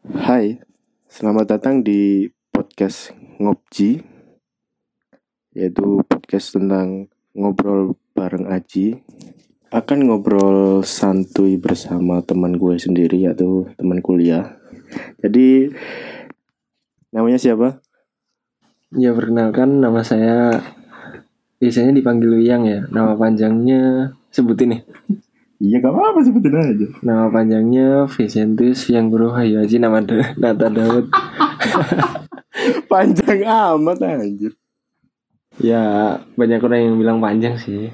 Hai, selamat datang di podcast Ngopji Yaitu podcast tentang ngobrol bareng Aji Akan ngobrol santuy bersama teman gue sendiri yaitu teman kuliah Jadi namanya siapa? Ya perkenalkan nama saya biasanya dipanggil Uyang ya. Nama panjangnya sebutin nih. Iya gak apa-apa sebutin aja Nama panjangnya Vicentius Uyang Bro Hayu Haji nama da- Nata Daud. Panjang amat anjir Ya banyak orang yang bilang panjang sih.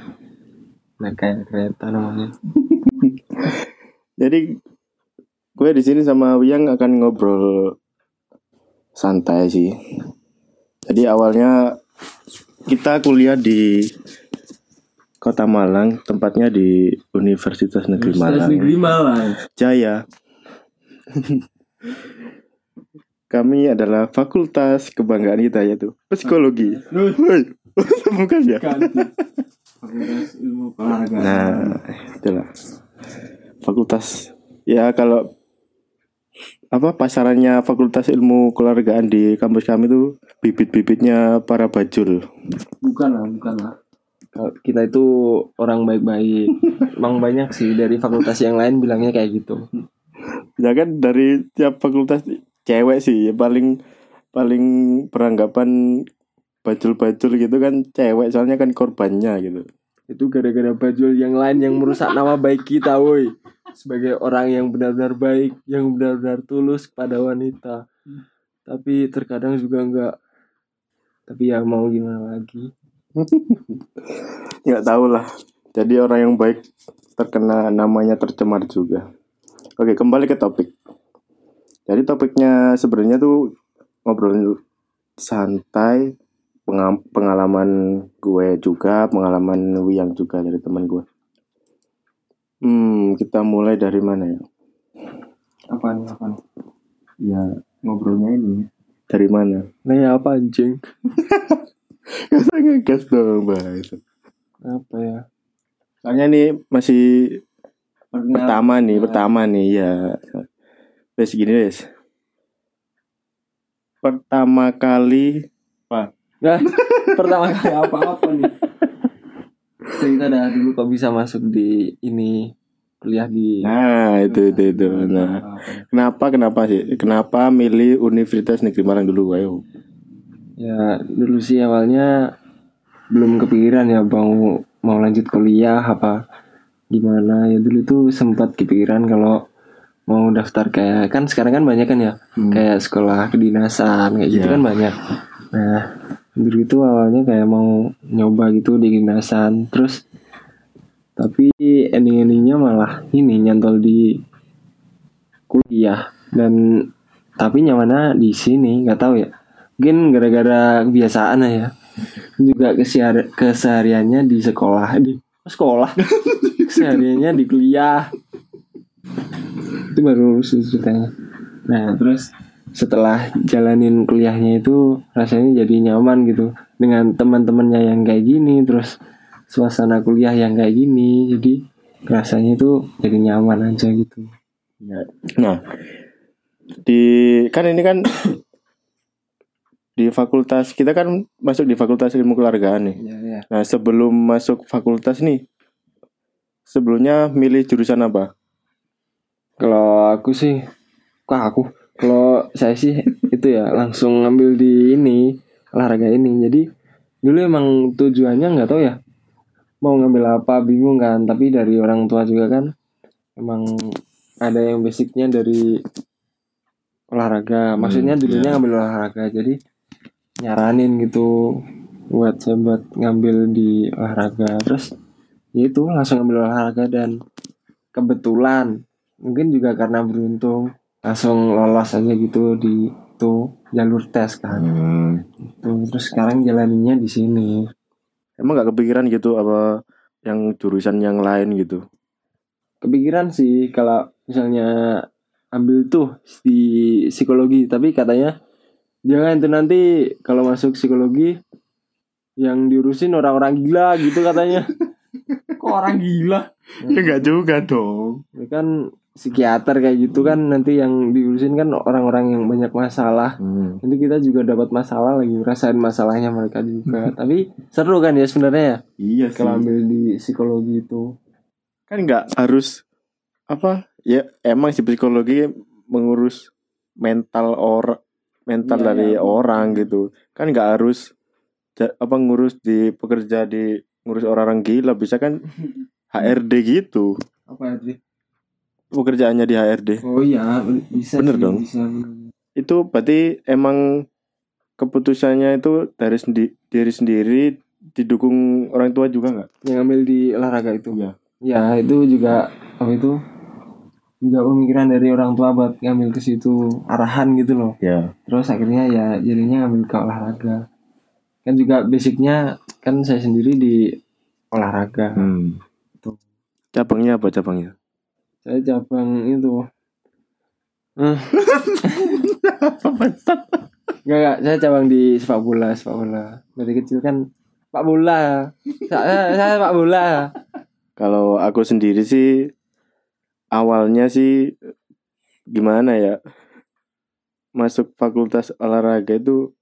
Nah kayak kereta namanya. Jadi gue di sini sama Wiyang akan ngobrol santai sih. Jadi awalnya kita kuliah di Kota Malang, tempatnya di Universitas Negeri Malang. Malang. Jaya. Kami adalah fakultas kebanggaan kita yaitu psikologi. Woi, Bukan ya? ilmu Nah, itulah. Fakultas ya kalau apa pasarannya Fakultas Ilmu Keluargaan di kampus kami itu bibit-bibitnya para bajul. Bukan lah, bukan lah. Kita itu orang baik-baik. Emang banyak sih dari fakultas yang lain bilangnya kayak gitu. Ya kan dari tiap fakultas cewek sih ya paling paling beranggapan bajul-bajul gitu kan cewek soalnya kan korbannya gitu. Itu gara-gara bajul yang lain yang merusak nama baik kita, woi. Sebagai orang yang benar-benar baik, yang benar-benar tulus kepada wanita. Tapi terkadang juga enggak. Tapi ya mau gimana lagi. nggak tahu lah Ya, jadi orang yang baik terkena namanya tercemar juga oke kembali ke topik jadi topiknya sebenarnya tuh ngobrol santai pengam- pengalaman gue juga pengalaman Wiyang juga dari teman gue hmm kita mulai dari mana ya Apaan, apaan? ya ngobrolnya ini dari mana Nah ya apa anjing? Gak usah ngegas dong bahas Apa ya? soalnya ini masih Nah. pertama nih pertama nih ya wes gini wes pertama kali Nah, pertama kali apa-apa nih? Cerita dah dulu kok bisa masuk di ini kuliah di nah itu itu itu nah kenapa kenapa sih kenapa milih Universitas Negeri Malang dulu ayo Ya dulu sih awalnya belum kepikiran ya bang mau lanjut kuliah apa gimana ya dulu tuh sempat kepikiran kalau mau daftar kayak kan sekarang kan banyak kan ya kayak sekolah kedinasan kayak gitu Iya. kan banyak. Nah dulu itu awalnya kayak mau nyoba gitu di kedinasan terus tapi ending-endingnya malah ini nyantol di kuliah dan tapi nyamannya di sini nggak tahu ya mungkin gara-gara kebiasaan ya juga kesehar kesehariannya di sekolah di sekolah kesehariannya di kuliah itu baru lulus ceritanya nah terus setelah jalanin kuliahnya itu rasanya jadi nyaman gitu dengan teman-temannya yang kayak gini terus suasana kuliah yang kayak gini jadi rasanya itu jadi nyaman aja gitu nah di kan ini kan di fakultas kita kan masuk di Fakultas Ilmu Keluargaan nih ya ya nah sebelum masuk fakultas nih sebelumnya milih jurusan apa Kalau aku sih, kok aku? Kalau saya sih itu ya langsung ngambil di ini olahraga ini. Jadi dulu emang tujuannya nggak tahu ya mau ngambil apa bingung kan. Tapi dari orang tua juga kan emang ada yang basicnya dari olahraga. Maksudnya Hmm, dulunya ngambil olahraga. Jadi nyaranin gitu buat saya buat ngambil di olahraga. Terus ya itu langsung ngambil olahraga dan kebetulan mungkin juga karena beruntung langsung lolos aja gitu di itu jalur tes kan Tuh, terus sekarang jalaninnya di sini Emang nggak kepikiran gitu apa yang jurusan yang lain gitu? kepikiran sih kalau misalnya ambil tuh di psikologi tapi katanya jangan itu nanti kalau masuk psikologi yang diurusin orang-orang gila gitu katanya kok orang gila Ya nggak juga dong. ya kan psikiater kayak gitu kan nanti yang diurusin kan orang-orang yang banyak masalah Hmm. nanti kita juga dapat masalah lagi rasain masalahnya mereka juga tapi seru kan ya sebenarnya ya Iya sih. kalau ambil di psikologi itu Kan nggak harus apa? Ya emang si psikologi mengurus mental or mental Iya, dari iya. orang gitu. Kan nggak harus ja- apa ngurus di pekerja di ngurus orang-orang gila bisa kan HRD gitu. apa sih Pekerjaannya di HRD. oh iya bisa Bener sih, dong. bisa, bener. itu berarti emang keputusannya itu dari sendi- diri sendiri didukung orang tua juga nggak? yang ambil di olahraga itu Iya. ya itu juga apa itu juga pemikiran dari orang tua buat ngambil ke situ arahan gitu loh Ya. terus akhirnya ya jadinya ngambil ke olahraga kan juga basicnya kan saya sendiri di olahraga Hmm. Tuh. Cabangnya apa cabangnya? saya cabang itu eh enggak, enggak saya cabang di sepak bola sepak bola dari kecil kan sepak bola saya, saya sepak bola Kalau aku sendiri sih awalnya sih gimana ya masuk fakultas olahraga itu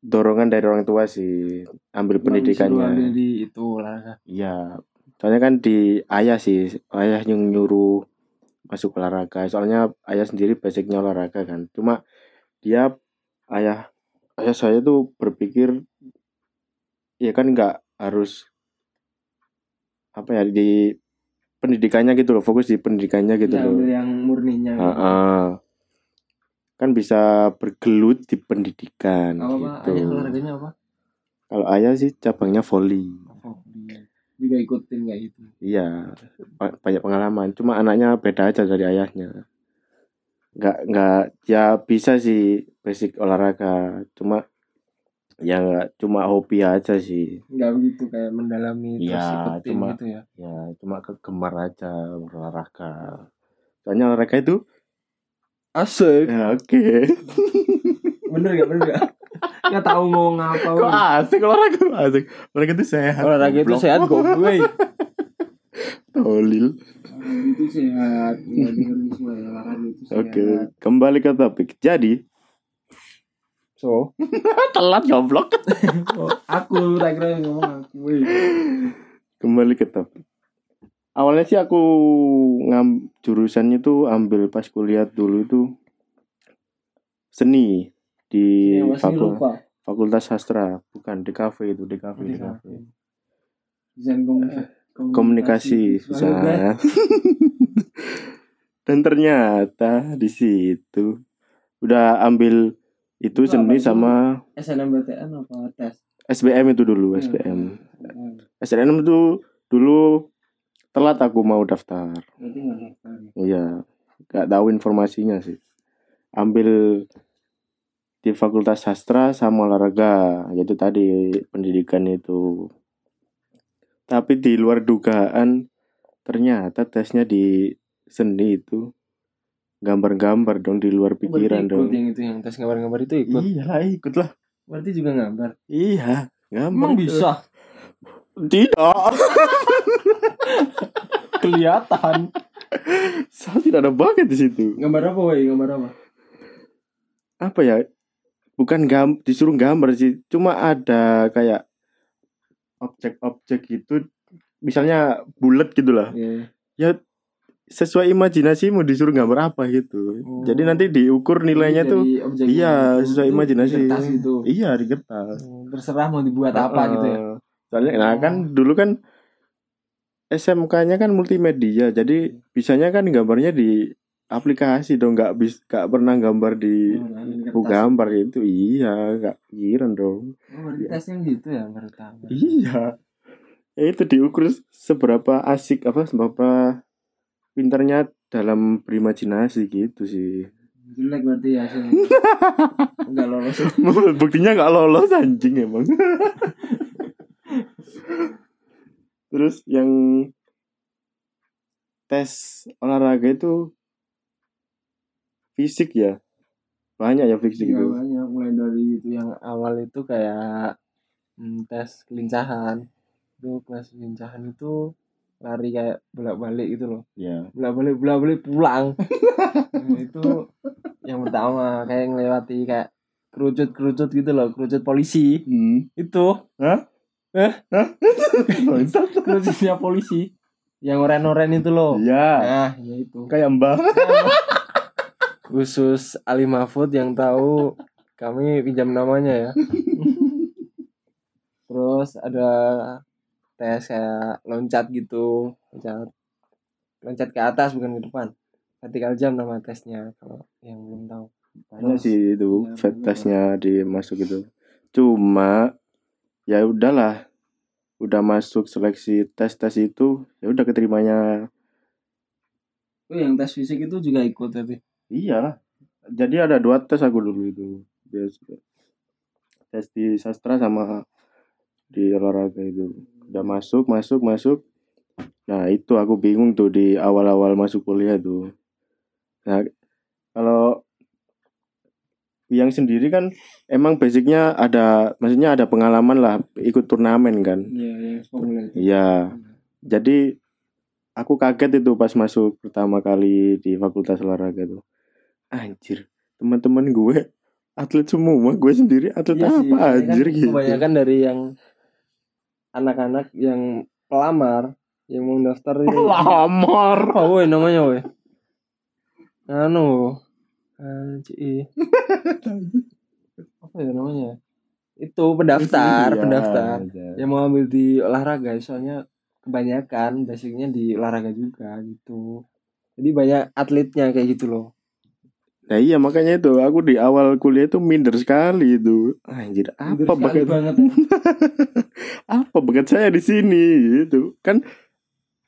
dorongan dari orang tua sih ambil pendidikannya. Ambil di itu olahraga Iya, soalnya kan di ayah sih, ayah yang nyuruh masuk olahraga. Soalnya ayah sendiri basicnya olahraga kan. Cuma dia ayah ayah saya tuh berpikir ya kan nggak harus apa ya di pendidikannya gitu loh, fokus di pendidikannya gitu Ya, loh. ambil yang murninya Heeh. Kan bisa bergelut di pendidikan apa apa gitu. ayah olahraganya apa Kalau ayah sih cabangnya volley. Hobi. juga ikutin kayak gitu Iya, ba- banyak pengalaman. Cuma anaknya beda aja dari ayahnya. Nggak nggak ya bisa sih basic olahraga. Cuma ya nggak cuma hobi aja sih. nggak begitu kayak mendalami terus Iya, ikutin cuma- gitu ya Ya cuma kegemar aja olahraga. Soalnya olahraga itu asik ya, oke. bener gak bener gak nggak tahu ngomong apa Kok asik olahraga asik. Olahraga itu sehat. Oh. olahraga itu goblok. sehat gue Tolil. itu sehat ya dengerin semua ya olahraga itu sehat Oke, kembali ke topik. Jadi, so telat goblok. aku tak kira ngomong aku weh. kembali ke topik awalnya sih aku ngam jurusannya tuh ambil pas kuliah dulu itu seni di Ya, pasti fakul- lupa fakultas sastra bukan di kafe itu di kafe di kafe desain komunikasi Eh, komunikasi Soalnya susah dan ternyata di situ udah ambil itu Itu seni apa itu? sama gue SNMPTN apa tes SBM itu dulu SBM SBM itu dulu telat aku mau daftar berarti nggak daftar ya. Iya, nggak tahu informasinya sih. Ambil di Fakultas Sastra sama olahraga, yaitu tadi pendidikan itu. Tapi di luar dugaan, ternyata tesnya di seni itu gambar-gambar dong di luar Berarti pikiran ikut dong. yang itu yang tes gambar-gambar itu ikut Iya lah, ikutlah. Hmm. berarti juga gambar Iya, gambar. emang bisa Tidak, kelihatan saya tidak ada bakat di situ. gambar apa woi gambar apa apa ya bukan gam disuruh gambar sih cuma ada kayak objek-objek gitu misalnya bulat gitu lah Iya. sesuai imajinasimu disuruh gambar apa gitu Oh. jadi nanti diukur nilainya Jadi tuh objeknya iya itu- sesuai itu imajinasi kertas itu. iya di kertas terserah mau dibuat apa Heeh. gitu ya Oh. soalnya nah kan dulu kan SMK-nya kan multimedia jadi Iya. bisanya kan gambarnya di aplikasi dong nggak bis nggak pernah gambar di Oh, ngambil kertas. Bu gambar itu iya nggak pikiran dong Oh, berarti tesnya gitu ya pertama iya Ya, itu diukur seberapa asik apa seberapa pintarnya dalam berimajinasi gitu sih jelek berarti ya hasilnya nggak lolos Iya, buktinya nggak lolos anjing emang terus yang tes olahraga itu fisik ya banyak ya fisik Iya, itu banyak mulai dari itu yang awal itu kayak hmm, tes kelincahan itu kelas kelincahan itu lari kayak bolak balik gitu loh ya bolak balik bolak balik pulang Nah, itu yang pertama kayak ngelewati kayak kerucut kerucut gitu loh kerucut polisi hmm. itu Hah? eh Bangsat. kerucutnya polisi yang oren oren itu loh Iya. nah ya itu kayak mbak khusus Ali Mahfud yang tahu kami pinjam namanya ya terus ada tes kayak loncat gitu loncat loncat ke atas bukan ke depan vertikal jam nama tesnya kalau yang belum tahu banyak sih itu Ya, vape bener. testnya dimasuk itu cuma ya udahlah udah masuk seleksi tes tes itu ya udah keterimanya oh yang tes fisik itu juga ikut tapi iya jadi ada dua tes aku dulu itu Dia suka- tes di sastra sama di olahraga itu udah masuk masuk masuk nah itu aku bingung tuh di awal awal masuk kuliah tuh nah kalau yang sendiri kan emang basicnya ada maksudnya ada pengalaman lah ikut turnamen kan iya yang formula itu Iya. Jadi aku kaget itu pas masuk pertama kali di fakultas olahraga tuh. Anjir, teman-teman gue atlet semua, gue sendiri atlet Iya sih, apa makanya kan anjir gitu. kebanyakan dari yang anak-anak yang pelamar yang mau daftar itu- Pelamar. apa Ah, woi namanya woi anu eh, CI apa ya namanya itu pendaftar Iya, pendaftar iya. yang mau ambil di olahraga soalnya kebanyakan basicnya di olahraga juga gitu jadi banyak atletnya kayak gitu loh Nah iya makanya itu aku di awal kuliah itu minder sekali itu. Anjir, apa Minder sekali bakat banget apa bakat saya di sini gitu. Kan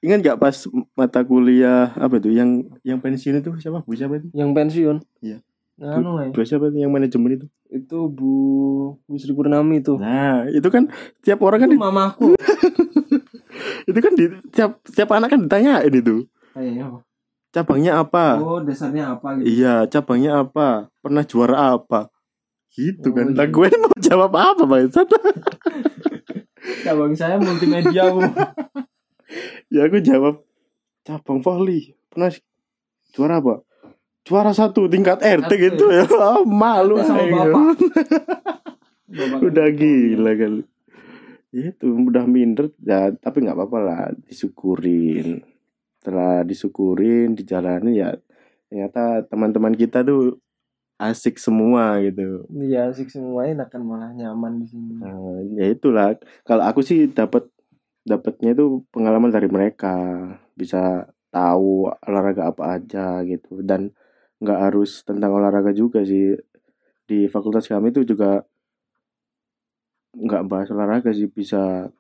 ingat gak pas mata kuliah apa itu yang yang pensiun itu siapa? Bu siapa itu? yang pensiun Iya. anu ya Bu siapa itu yang manajemen itu? itu Bu Bu Sri Purnami itu Nah, itu kan tiap orang kan itu di- mamaku itu kan di- tiap tiap anak kan ditanyain itu. kayaknya apa? Cabangnya apa? oh dasarnya apa gitu Iya, cabangnya apa? Pernah juara apa? Gitu Oh, kan. iya. Lah gue ini mau jawab apa, Bangsat? cabang saya multimedia Bu ya aku jawab cabang volley. Pernah juara apa? Juara satu tingkat RT RT. gitu ya. Malu iya. Sama aing. bapak. Iya. gitu. Udah gila kali. Itu udah minder ya, tapi nggak apa-apa lah, disyukurin. Setelah disyukurin, dijalani ya ternyata teman-teman kita tuh asik semua gitu. Iya asik semua enakan malah nyaman di sini. Nah, ya itulah. Kalau aku sih dapat dapatnya itu pengalaman dari mereka, bisa tahu olahraga apa aja gitu dan nggak harus tentang olahraga juga sih. Di fakultas kami itu juga nggak bahas olahraga sih, bisa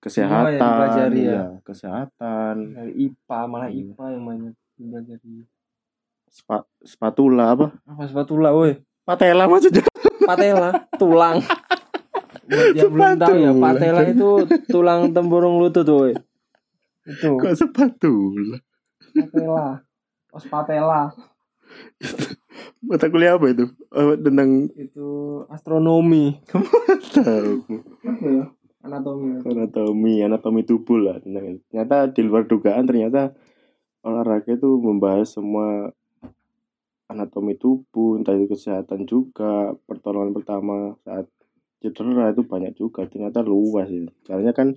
Semua yang kesehatan, dipelajari ya. iya, kesehatan, Dari IPA malah Iya. IPA yang banyak juga dari spa- spatula apa? apa spatula woi Patela maksudnya. patela tulang. Buat yang belum tahu ya Spatula. patela itu tulang temburung lutut woi. Itu Kok spatula? patela. Os patela Mata kuliah apa itu? Eh, tentang itu astronomi. tahu. Apa ya? Anatomi. anatomi anatomi tubuh lah Nah, ternyata di luar dugaan ternyata olahraga itu membahas semua anatomi tubuh entah itu kesehatan juga pertolongan pertama saat cedera itu banyak juga ternyata luas ya soalnya kan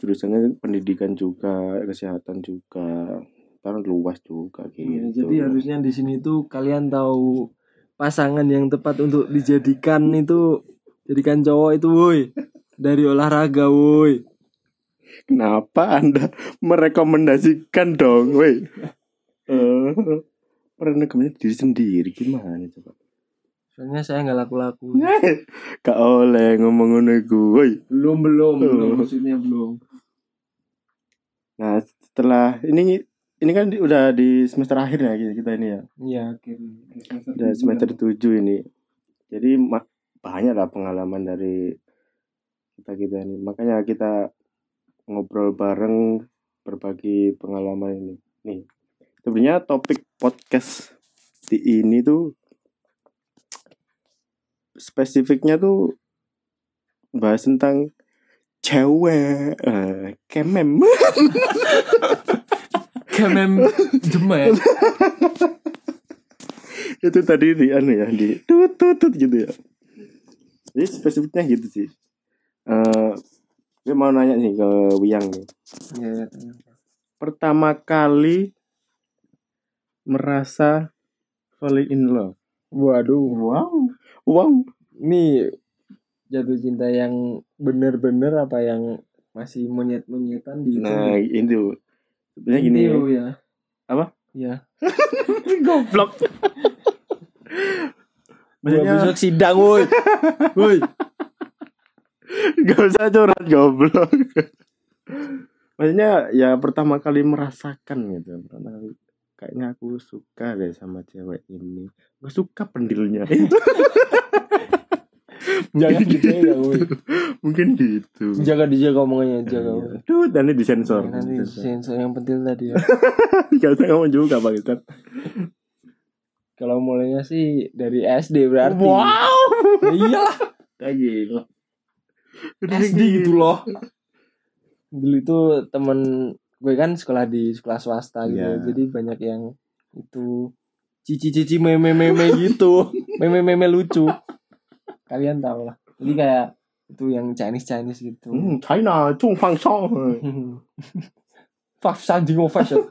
jurusannya pendidikan juga kesehatan juga karena luas juga gitu Iya, jadi harusnya di sini tuh kalian tahu pasangan yang tepat untuk dijadikan itu jadikan cowok itu woi dari olahraga woi Kenapa Anda merekomendasikan dong, weh? Eh, merekomendasikan diri sendiri gimana coba? soalnya saya nggak laku-laku Gak oleh ngomong ngono iku, woi. belum belum belum, maksudnya belum Nah, setelah ini ini kan di- udah di semester akhir ya kita kita ini ya. iya akhirnya Udah Iya. semester 7 ini. Jadi ma- banyak lah pengalaman dari kita kita ini. Makanya kita ngobrol bareng berbagi pengalaman ini. Nih. Sebenarnya topik podcast di ini tuh spesifiknya tuh bahas tentang cewek eh, kemem Kemem jemet. itu tadi di anu ya di tut tut tut gitu ya jadi spesifiknya gitu sih Eh, gue mau nanya nih ke Wiyang nih Iya, pertama kali merasa falling in love Waduh, Wow. wow ini jatuh cinta yang bener-bener apa yang masih monyet-monyetan di nah itu sebenarnya gini gini ya. ya. Apa? Iya. goblok Maksudnya sidang, woi. Woi. gak usah curhat goblok Maksudnya ya pertama kali merasakan gitu Pertama kali Kayaknya aku suka deh sama cewek ini Gue suka pendilnya Jangan gitu ya, dijaga, woi. gitu. Mungkin gitu Jaga dijaga Iya, omongannya, jaga. woi. Tuh nanti disensor Iya, Nanti sensor yang penting tadi ya. Gak usah ngomong juga Pak Ustaz. Kalau mulainya sih dari SD berarti. Iya, Wow Iyalah, Ya gila SD gitu loh. Dulu itu temen gue kan sekolah di sekolah swasta gitu. Iya. Jadi banyak yang itu cici-cici meme-meme gitu. Meme-meme lucu. Kalian tau lah. Jadi kayak itu yang Chinese-Chinese gitu. Hmm, China, Chung Fang Song. Faf Sanding Fashion.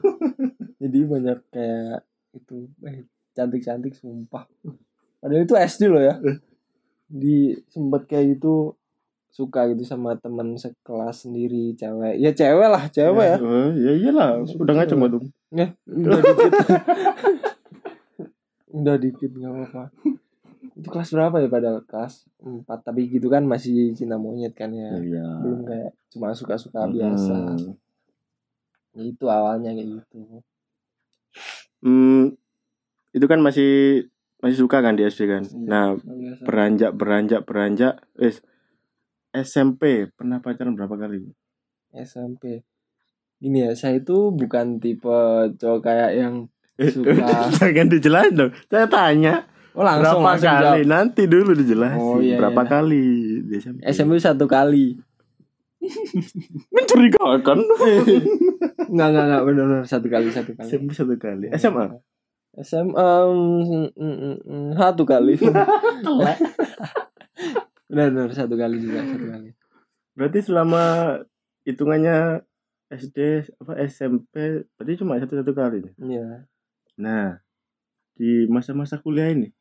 Jadi banyak kayak itu eh, cantik-cantik sumpah. Padahal itu SD loh ya. Di sempet kayak gitu suka gitu sama teman sekelas sendiri cewek. Ya cewek lah, cewek ya. Eh, Ya iyalah, udah ngaco gak tuh Ya, udah dikit. udah dikit nggak apa-apa. Itu kelas berapa ya padahal kelas 4 tapi gitu kan masih cinta monyet kan ya. Iya Belum kayak cuma suka-suka biasa. Ya, itu awalnya kayak gitu. Hmm, itu kan masih masih suka kan di SD kan. Iya. Nah, Biasa. beranjak beranjak beranjak eh SMP pernah pacaran berapa kali? SMP. Gini ya, saya itu bukan tipe cowok kayak yang Suka. Jangan dijelasin dong. Saya tanya oh langsung berapa langsung kali? jawab. Nanti dulu dijelasin. Oh, iya, berapa iya. kali di SMP? SMP satu kali. mencurigakan. Enggak enggak enggak benar-benar satu kali satu kali. SMP satu kali. Iya. SMA. SMA mm, mm, mm, mm, satu kali. Benar-benar satu kali juga satu kali. Berarti selama hitungannya SD apa SMP berarti cuma satu satu kali nih. Iya. Nah, di masa-masa kuliah ini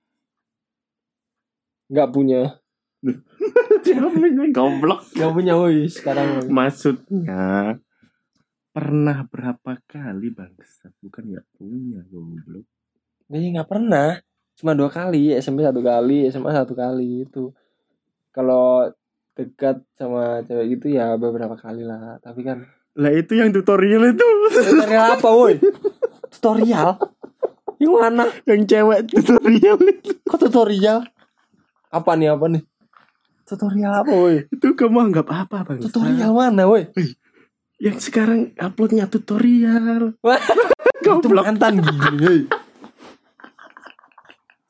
Enggak punya. goblok Enggak punya woi sekarang. woi. Maksudnya pernah berapa kali bangsat bukan nggak punya goblok. Nih nggak pernah. Cuma dua kali, SMP satu kali, SMA satu kali itu. Kalau dekat sama cewek gitu ya beberapa kali lah. Tapi kan Lah itu yang tutorial itu tutorial apa woi? Tutorial? Yang mana? yang cewek tutorial itu, Kok tutorial? Apa nih apa nih? Tutorial apa woi? itu kamu anggap apa bang? Tutorial mana woi? Yang sekarang uploadnya tutorial. Wah, Itu Goblok mantan gini. hei.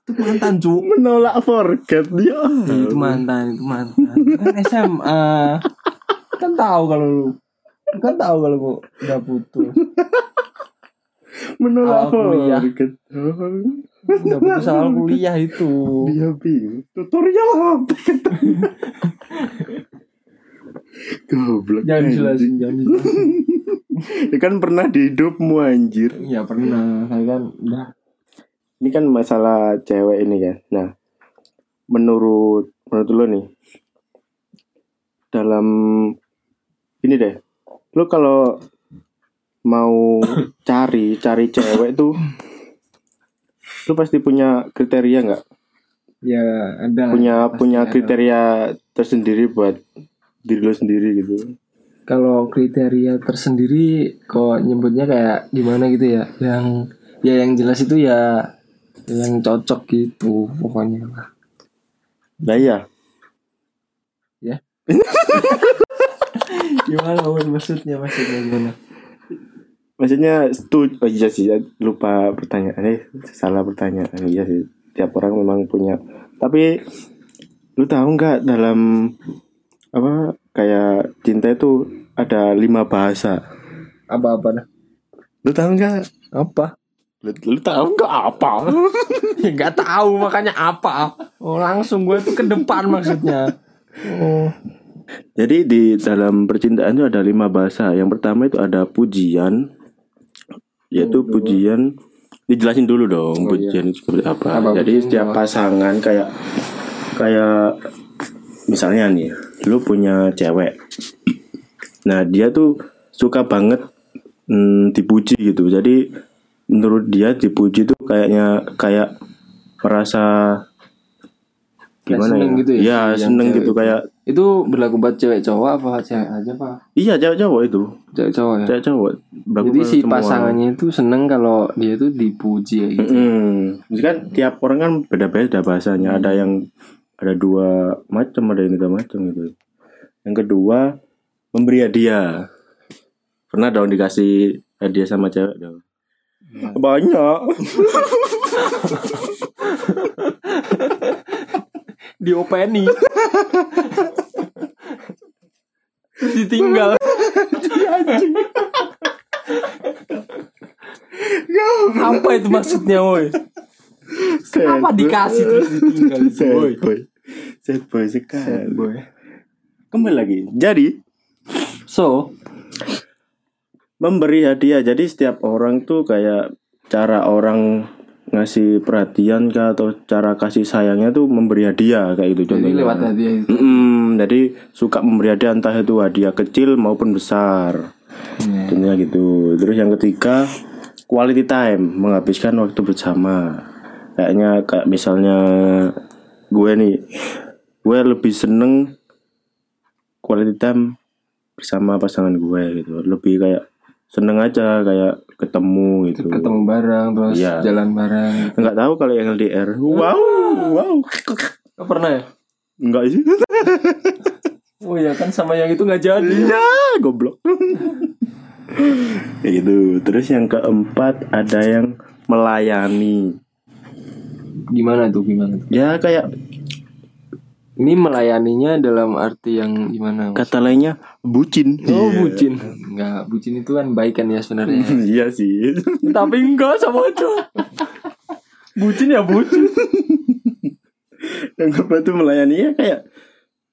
Itu mantan cu. menolak forget ya. dia. Nah, itu mantan, itu mantan. Kan SMA. Kan tahu kalau lu. Kan tahu kalau gua udah putus. menolak awal kuliah. forget. Udah putus awal kuliah itu. Dia bingung Iya, tutorial apa? Goblok. eh. Jangan anjing. jelasin, jangan jelasin. Ya kan pernah di hidupmu anjir. Iya pernah, saya kan udah ini kan masalah cewek ini ya. Nah, menurut menurut lo nih dalam ini deh, lo kalau mau cari cari cewek tuh, lo pasti punya kriteria nggak? ya ada lah, Punya pasti punya ada. kriteria tersendiri buat diri lo sendiri gitu. kalau kriteria tersendiri kok nyebutnya kayak gimana gitu ya yang ya yang jelas itu ya yang cocok gitu pokoknya lah Nah iya, gimana Wan? maksudnya maksudnya gimana maksudnya setuju. Oh iya sih, lupa pertanyaan. Eh, salah pertanyaan. Iya sih, tiap orang memang punya. Tapi lu tahu nggak dalam apa kayak cinta itu ada lima bahasa Apa-apa dah. lu tahu nggak Apa? lu, lu tahu nggak apa Ya nggak tahu makanya apa. Oh, langsung gue tuh ke depan maksudnya. Oh. jadi di dalam percintaan itu ada lima bahasa yang pertama itu ada pujian yaitu pujian dijelasin dulu dong pujian itu seperti apa, Oh, iya. Apa jadi pujian setiap apa? pasangan kayak kayak misalnya nih lu punya cewek nah dia tuh suka banget mm, dipuji gitu jadi menurut dia dipuji tuh kayaknya kayak merasa Kayak gimana seneng ya? gitu ya ya si yang seneng cewek gitu itu. kayak Itu berlaku buat cewek cowok apa cewek aja pak? iya cewek cowok itu Cewek cowok ya. cewek cowok berlaku Jadi pada si semua. pasangannya itu seneng kalau dia tuh dipuji ya gitu. Mm-mm. Jadi kan tiap orang kan beda-beda bahasanya. Hmm. Ada yang ada dua macam, ada yang tiga macam gitu. Yang kedua memberi hadiah. Pernah dong dikasih hadiah sama cewek dong. Hmm. Banyak. Diopeni. Terus ditinggal. Iya, apa itu maksudnya woi? Kenapa dikasih terus ditinggal itu, Sad woi? boy. Sad boy sekali. Kembali lagi. Jadi So, memberi hadiah. Jadi setiap orang tuh kayak cara orang ngasih perhatian kah atau cara kasih sayangnya tuh memberi hadiah kayak gitu jadi contohnya. lewat hadiah itu. Mm-mm, jadi suka memberi hadiah entah itu hadiah kecil maupun besar. Contohnya gitu. Terus yang ketiga quality time, menghabiskan waktu bersama. Kayaknya kayak misalnya gue nih gue lebih seneng quality time bersama pasangan gue gitu. Lebih kayak seneng aja kayak ketemu gitu. Ketemu bareng terus Iya. jalan bareng. Nggak tahu kalau yang LDR. Wow, wow. Oh, pernah ya? Enggak sih. Oh ya kan sama yang itu nggak jadi. Ya, goblok. ya gitu. Terus yang keempat ada yang melayani. Gimana tuh gimana tuh? Ya kayak Ini melayaninya dalam arti yang gimana? Mas? kata lainnya bucin. Oh Iya. bucin Enggak bucin itu kan baik kan ya sebenarnya Iya sih. Tapi enggak sama aja Bucin ya bucin yang keempat tuh melayani ya kayak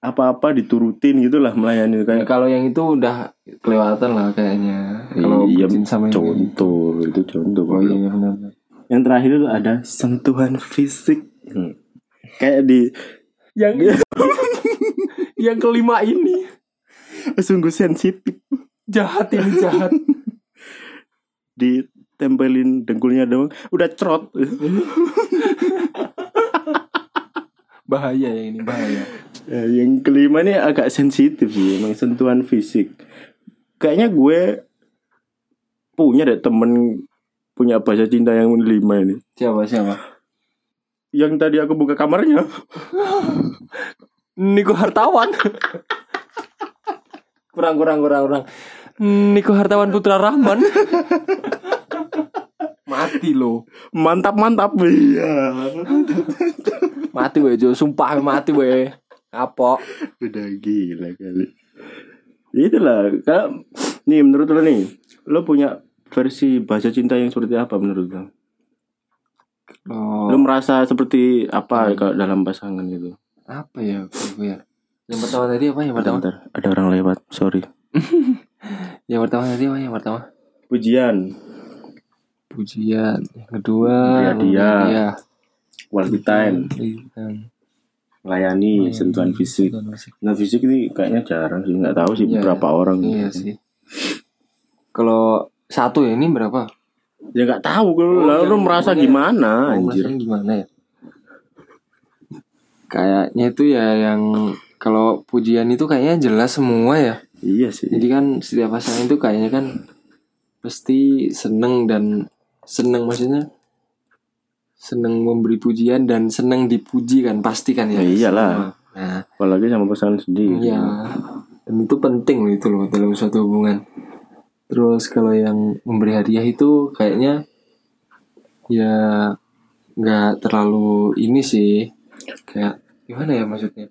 apa-apa diturutin gitulah melayani kayak Ya, Kalau yang itu udah kelewatan lah kayaknya Kalau Iya, bucin sama yang ini. contoh itu contoh. Oh iya iya, benar-benar Yang terakhir itu ada sentuhan fisik. Hmm. Kayak di Yang Yang kelima ini sungguh sensitif Jahat ini jahat ditempelin dengkulnya doang udah cerot Bahaya ya ini bahaya Ya, yang kelima ini agak sensitif sih, emang sentuhan fisik. Kayaknya gue punya deh temen punya bahasa cinta yang lima ini. Siapa siapa Yang tadi aku buka kamarnya. Niko Hartawan Kurang kurang kurang kurang Niko Hartawan Putra Rahman Mati loh Mantap mantap. Iya. mati we Jo sumpah mati we kapok Udah gila kali. Itulah. Kak. Nih menurut lo nih, lo punya versi bahasa cinta yang seperti apa menurut lo? Lo oh, merasa seperti apa kalau dalam pasangan gitu? apa ya gue ya yang pertama tadi apa yang pertama Bentar, ada orang lewat. Sorry. yang pertama tadi apa yang pertama Pujian, pujian yang kedua Memberi hadiah. iya quality time. melayani Hmm. sentuhan fisik. Sentuhan fisik ini kayaknya jarang sih, nggak tahu sih Iya, berapa orang. iya sih kalau satu ya ini berapa Ya nggak tahu kalau Oh, lalu yang- merasa yang- gimana Nah, anjir. Anjir. gimana ya kayaknya itu ya yang kalau pujian itu kayaknya jelas semua ya Iya sih. Jadi kan setiap pasangan itu kayaknya kan pasti seneng dan seneng maksudnya seneng memberi pujian dan seneng dipuji kan pasti kan ya. Ya iyalah. Semua. Nah, Apalagi sama pasangan sendiri. iya. Dan itu penting loh itu loh dalam suatu hubungan. Terus kalau yang memberi hadiah itu kayaknya ya nggak terlalu ini sih kayak gimana ya maksudnya?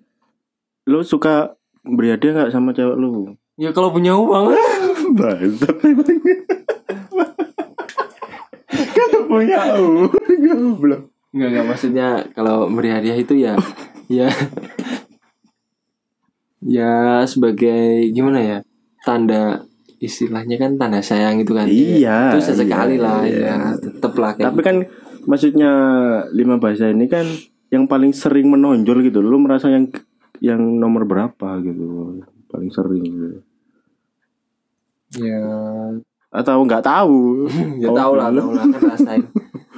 Lu suka beri hadiah nggak sama cewek lu? Ya kalau punya uang Bangsat emang. Kan lu punya uang belum. Enggak enggak maksudnya kalau beri hadiah itu ya ya ya sebagai gimana ya tanda istilahnya kan tanda sayang itu kan Iya, itu sesekali iya, lah iya. ya tetep lah kayak Tapi kan maksudnya lima bahasa ini kan yang paling sering menonjol gitu. Lu merasa yang yang nomor berapa gitu paling sering gitu. gitu. ya Atau nggak tahu. ya Oh, tau lah tau lu- lah kan rasain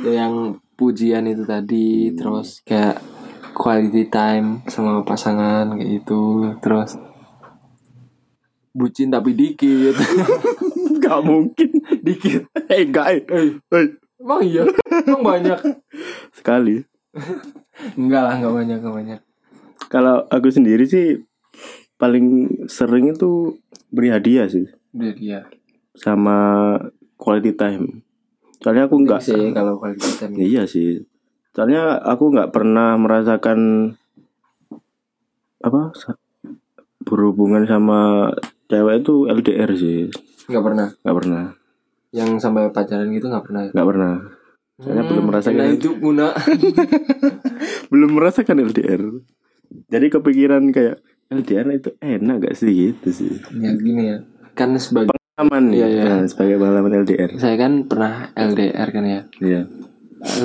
ya, yang pujian itu tadi terus kayak quality time sama pasangan kayak itu terus bucin tapi dikit Gak mungkin dikit Eh enggak eh. Eh, emang iya emang banyak Sekali enggak lah enggak banyak enggak banyak Kalau aku sendiri sih Paling sering itu Beri hadiah sih dia dia Sama quality time Soalnya aku enggak Iya sih kalau quality time gitu. Iya sih Soalnya aku enggak pernah merasakan Apa sa- Berhubungan sama Cewek itu LDR sih enggak pernah Enggak pernah yang sampai pacaran gitu enggak pernah Enggak pernah Soalnya belum merasakan nah itu guna belum merasakan LDR jadi kepikiran kayak LDR itu enak gak sih gitu sih ya gini ya kan sebagai aman Iya, ya, iya. Nah, sebagai pengalaman LDR saya kan pernah LDR kan ya iya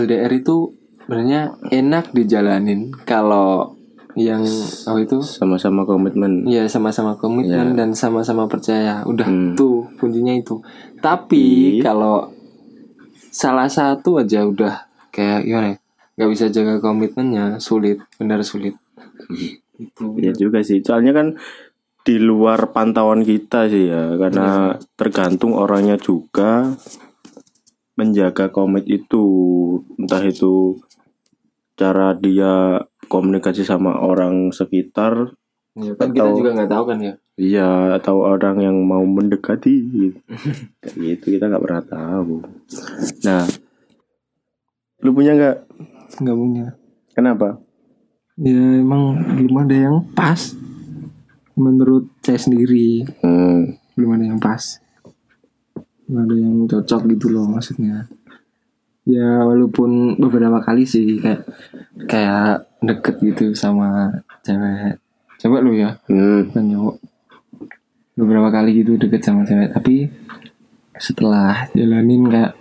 LDR itu sebenarnya enak dijalanin kalau yang apa itu sama-sama komitmen ya sama-sama komitmen Ya. dan sama-sama percaya udah Hmm. tuh kuncinya itu tapi Tapi- kalau salah satu aja udah kayak gimana ya nggak bisa jaga komitmennya sulit benar sulit itu Iya juga sih soalnya kan di luar pantauan kita sih ya karena tergantung orangnya juga menjaga komit itu entah itu cara dia komunikasi sama orang sekitar Ya, kan kita Atau- juga nggak tahu kan ya Iya, atau orang yang mau mendekati gitu. Kayak gitu kita nggak pernah tahu. Nah, lu punya nggak? nggak punya Kenapa? ya emang belum ada yang pas menurut saya sendiri Hmm, belum ada yang pas belum ada yang cocok gitu loh maksudnya ya walaupun beberapa kali sih kayak kayak deket gitu sama cewek coba lu ya hmm, bukan cowok beberapa kali gitu deket sama cewek tapi setelah jalanin kayak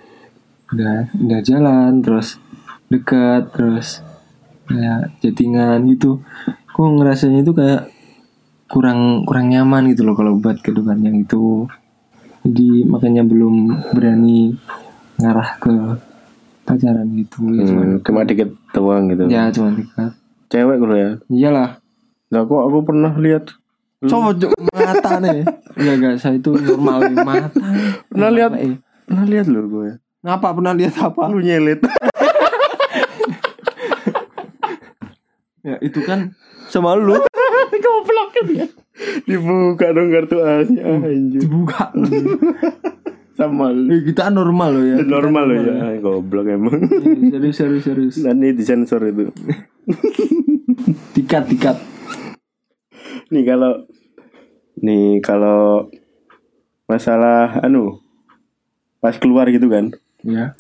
udah udah jalan terus deket terus kayak chattingan gitu kok ngerasanya itu kayak kurang kurang nyaman gitu loh kalau buat kedepannya itu jadi makanya belum berani ngarah ke pacaran gitu ya cuman hmm, cuma dikit doang gitu. ya cuman dekat Cewek lu ya. iyalah Lah kok aku pernah lihat cowok mata nih enggak enggak saya itu normal mata Pernah lihat? Eh, pernah lihat lu gue. ngapa pernah lihat apa Lu nyelit. ya itu kan sama lu Goblok ya. Dibuka dong kartu asnya anjir. dibuka Sama lu. Eh, kita normal loh ya Normal lu ya. Goblok emang. Eh, serius serius serius Nanti disensor itu. tikat tikat Nih kalau nih kalau masalah anu pas keluar gitu kan. ya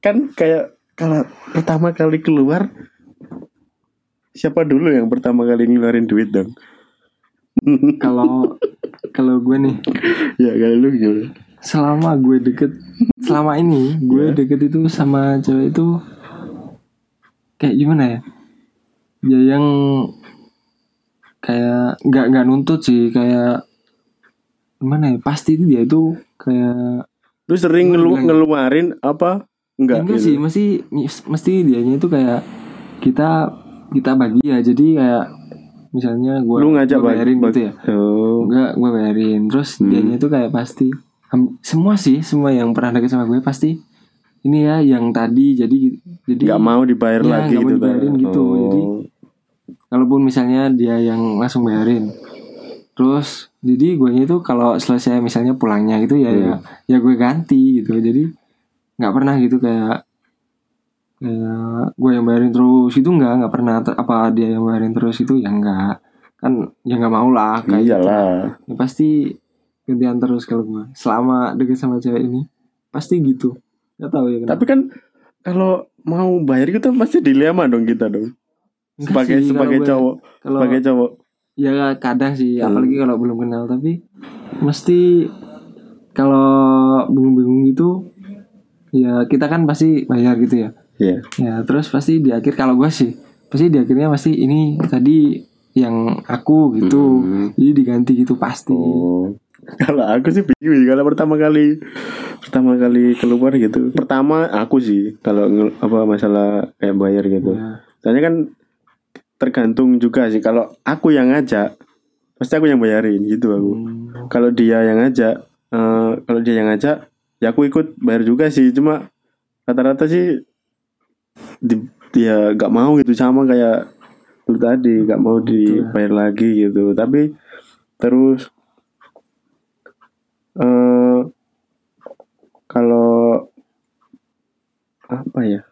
Kan kayak kalau pertama kali keluar siapa dulu yang pertama kali ngeluarin duit dong? kalau kalau gue nih ya kalau lu gitu. selama gue deket selama ini Iya. gue deket itu sama cewek itu kayak gimana ya ya yang kayak nggak nggak nuntut sih kayak gimana ya pasti itu dia itu kayak Lu sering ngelu- ngeluarin apa? enggak, Enggak, sih gitu. mesti mesti dianya itu kayak kita kita bagi ya jadi kayak misalnya gue Lu ngajak gue bayarin bag- gitu ya Oh. Enggak, gue bayarin. Terus Hmm. dianya tuh kayak pasti ham- semua sih, semua yang pernah deket sama gue pasti ini ya yang tadi jadi jadi Nggak mau dibayar Iya, lagi nggak mau gitu. Tan. dibayarin gitu, Oh. jadi- kalaupun misalnya dia yang langsung bayarin. Terus jadi guanya itu kalau selesai misalnya pulangnya gitu ya ya, Hmm. ya gue ganti gitu. Jadi nggak pernah gitu kayak kayak gue yang bayarin terus itu nggak nggak pernah Ter- apa dia yang bayarin terus itu ya nggak kan ya nggak mau lah kayak Iyalah. gitu. Ya pasti gantian terus kalau gue selama deket sama cewek ini pasti gitu nggak tahu ya kenapa Tapi kan kalau mau bayar kita pasti dilema dong kita dong. Enggak Sebagai sih, sebagai kalau gue- cowok, kalau sebagai cowok. ya kadang sih Hmm. apalagi kalau belum kenal tapi mesti kalau bingung-bingung gitu ya kita kan pasti bayar gitu ya Iya. ya terus pasti di akhir kalau gue sih pasti di akhirnya pasti ini tadi yang aku gitu jadi diganti gitu pasti Hmm. Oh. Kalau aku sih bingung sih, kalau pertama kali pertama kali keluar gitu. Pertama aku sih kalau ngel- apa masalah kayak bayar gitu. Ya. Soalnya kan tergantung juga sih kalau aku yang ngajak pasti aku yang bayarin gitu aku. Hmm. Kalau dia yang ngajak eh, kalau dia yang ngajak ya aku ikut bayar juga sih cuma rata-rata sih di- dia nggak mau gitu sama kayak lu tadi nggak mau dibayar lagi gitu tapi terus eh kalau apa ya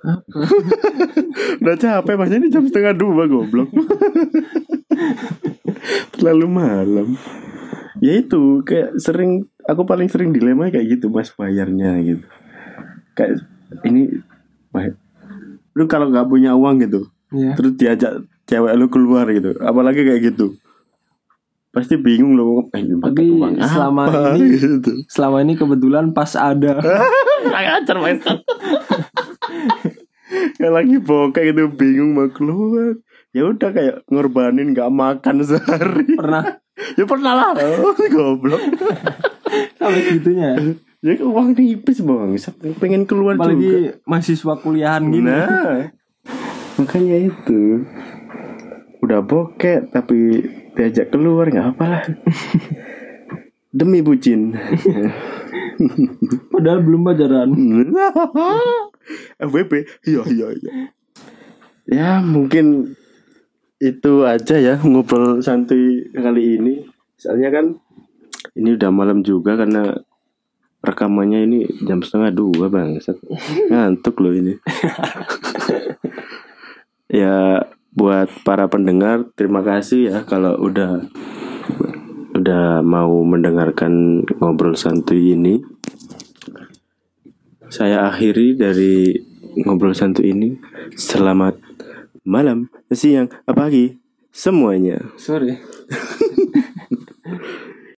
udah capek masnya ini jam setengah dua goblok terlalu malam ya itu kayak sering aku paling sering dilema kayak gitu mas bayarnya gitu kayak ini bay- lu kalau nggak punya uang gitu ya terus diajak cewek lu keluar gitu apalagi kayak gitu pasti bingung lu eh, ini pakai Tapi uang selama apa? ini- gitu. selama ini kebetulan pas ada Acar Kayak lagi bokeh gitu bingung mau keluar. Ya udah kayak ngorbanin nggak makan sehari. pernah Oh. ya pernah lah. Goblok. sampai segitunya Ya uang tipis bang. Pengen keluar juga. apalagi mahasiswa kuliahan gini Nah, makanya itu. Udah bokeh tapi diajak keluar nggak apalah. Demi bucin. padahal belum pacaran Kan? FWB iya iya iya ya mungkin itu aja ya ngobrol santuy kali ini soalnya kan ini udah malam juga karena rekamannya ini jam setengah dua bang ngantuk loh ini ya buat para pendengar terima kasih ya kalau udah udah mau mendengarkan ngobrol santuy ini saya akhiri dari ngobrol santu ini. Selamat malam, siang, pagi semuanya. sorry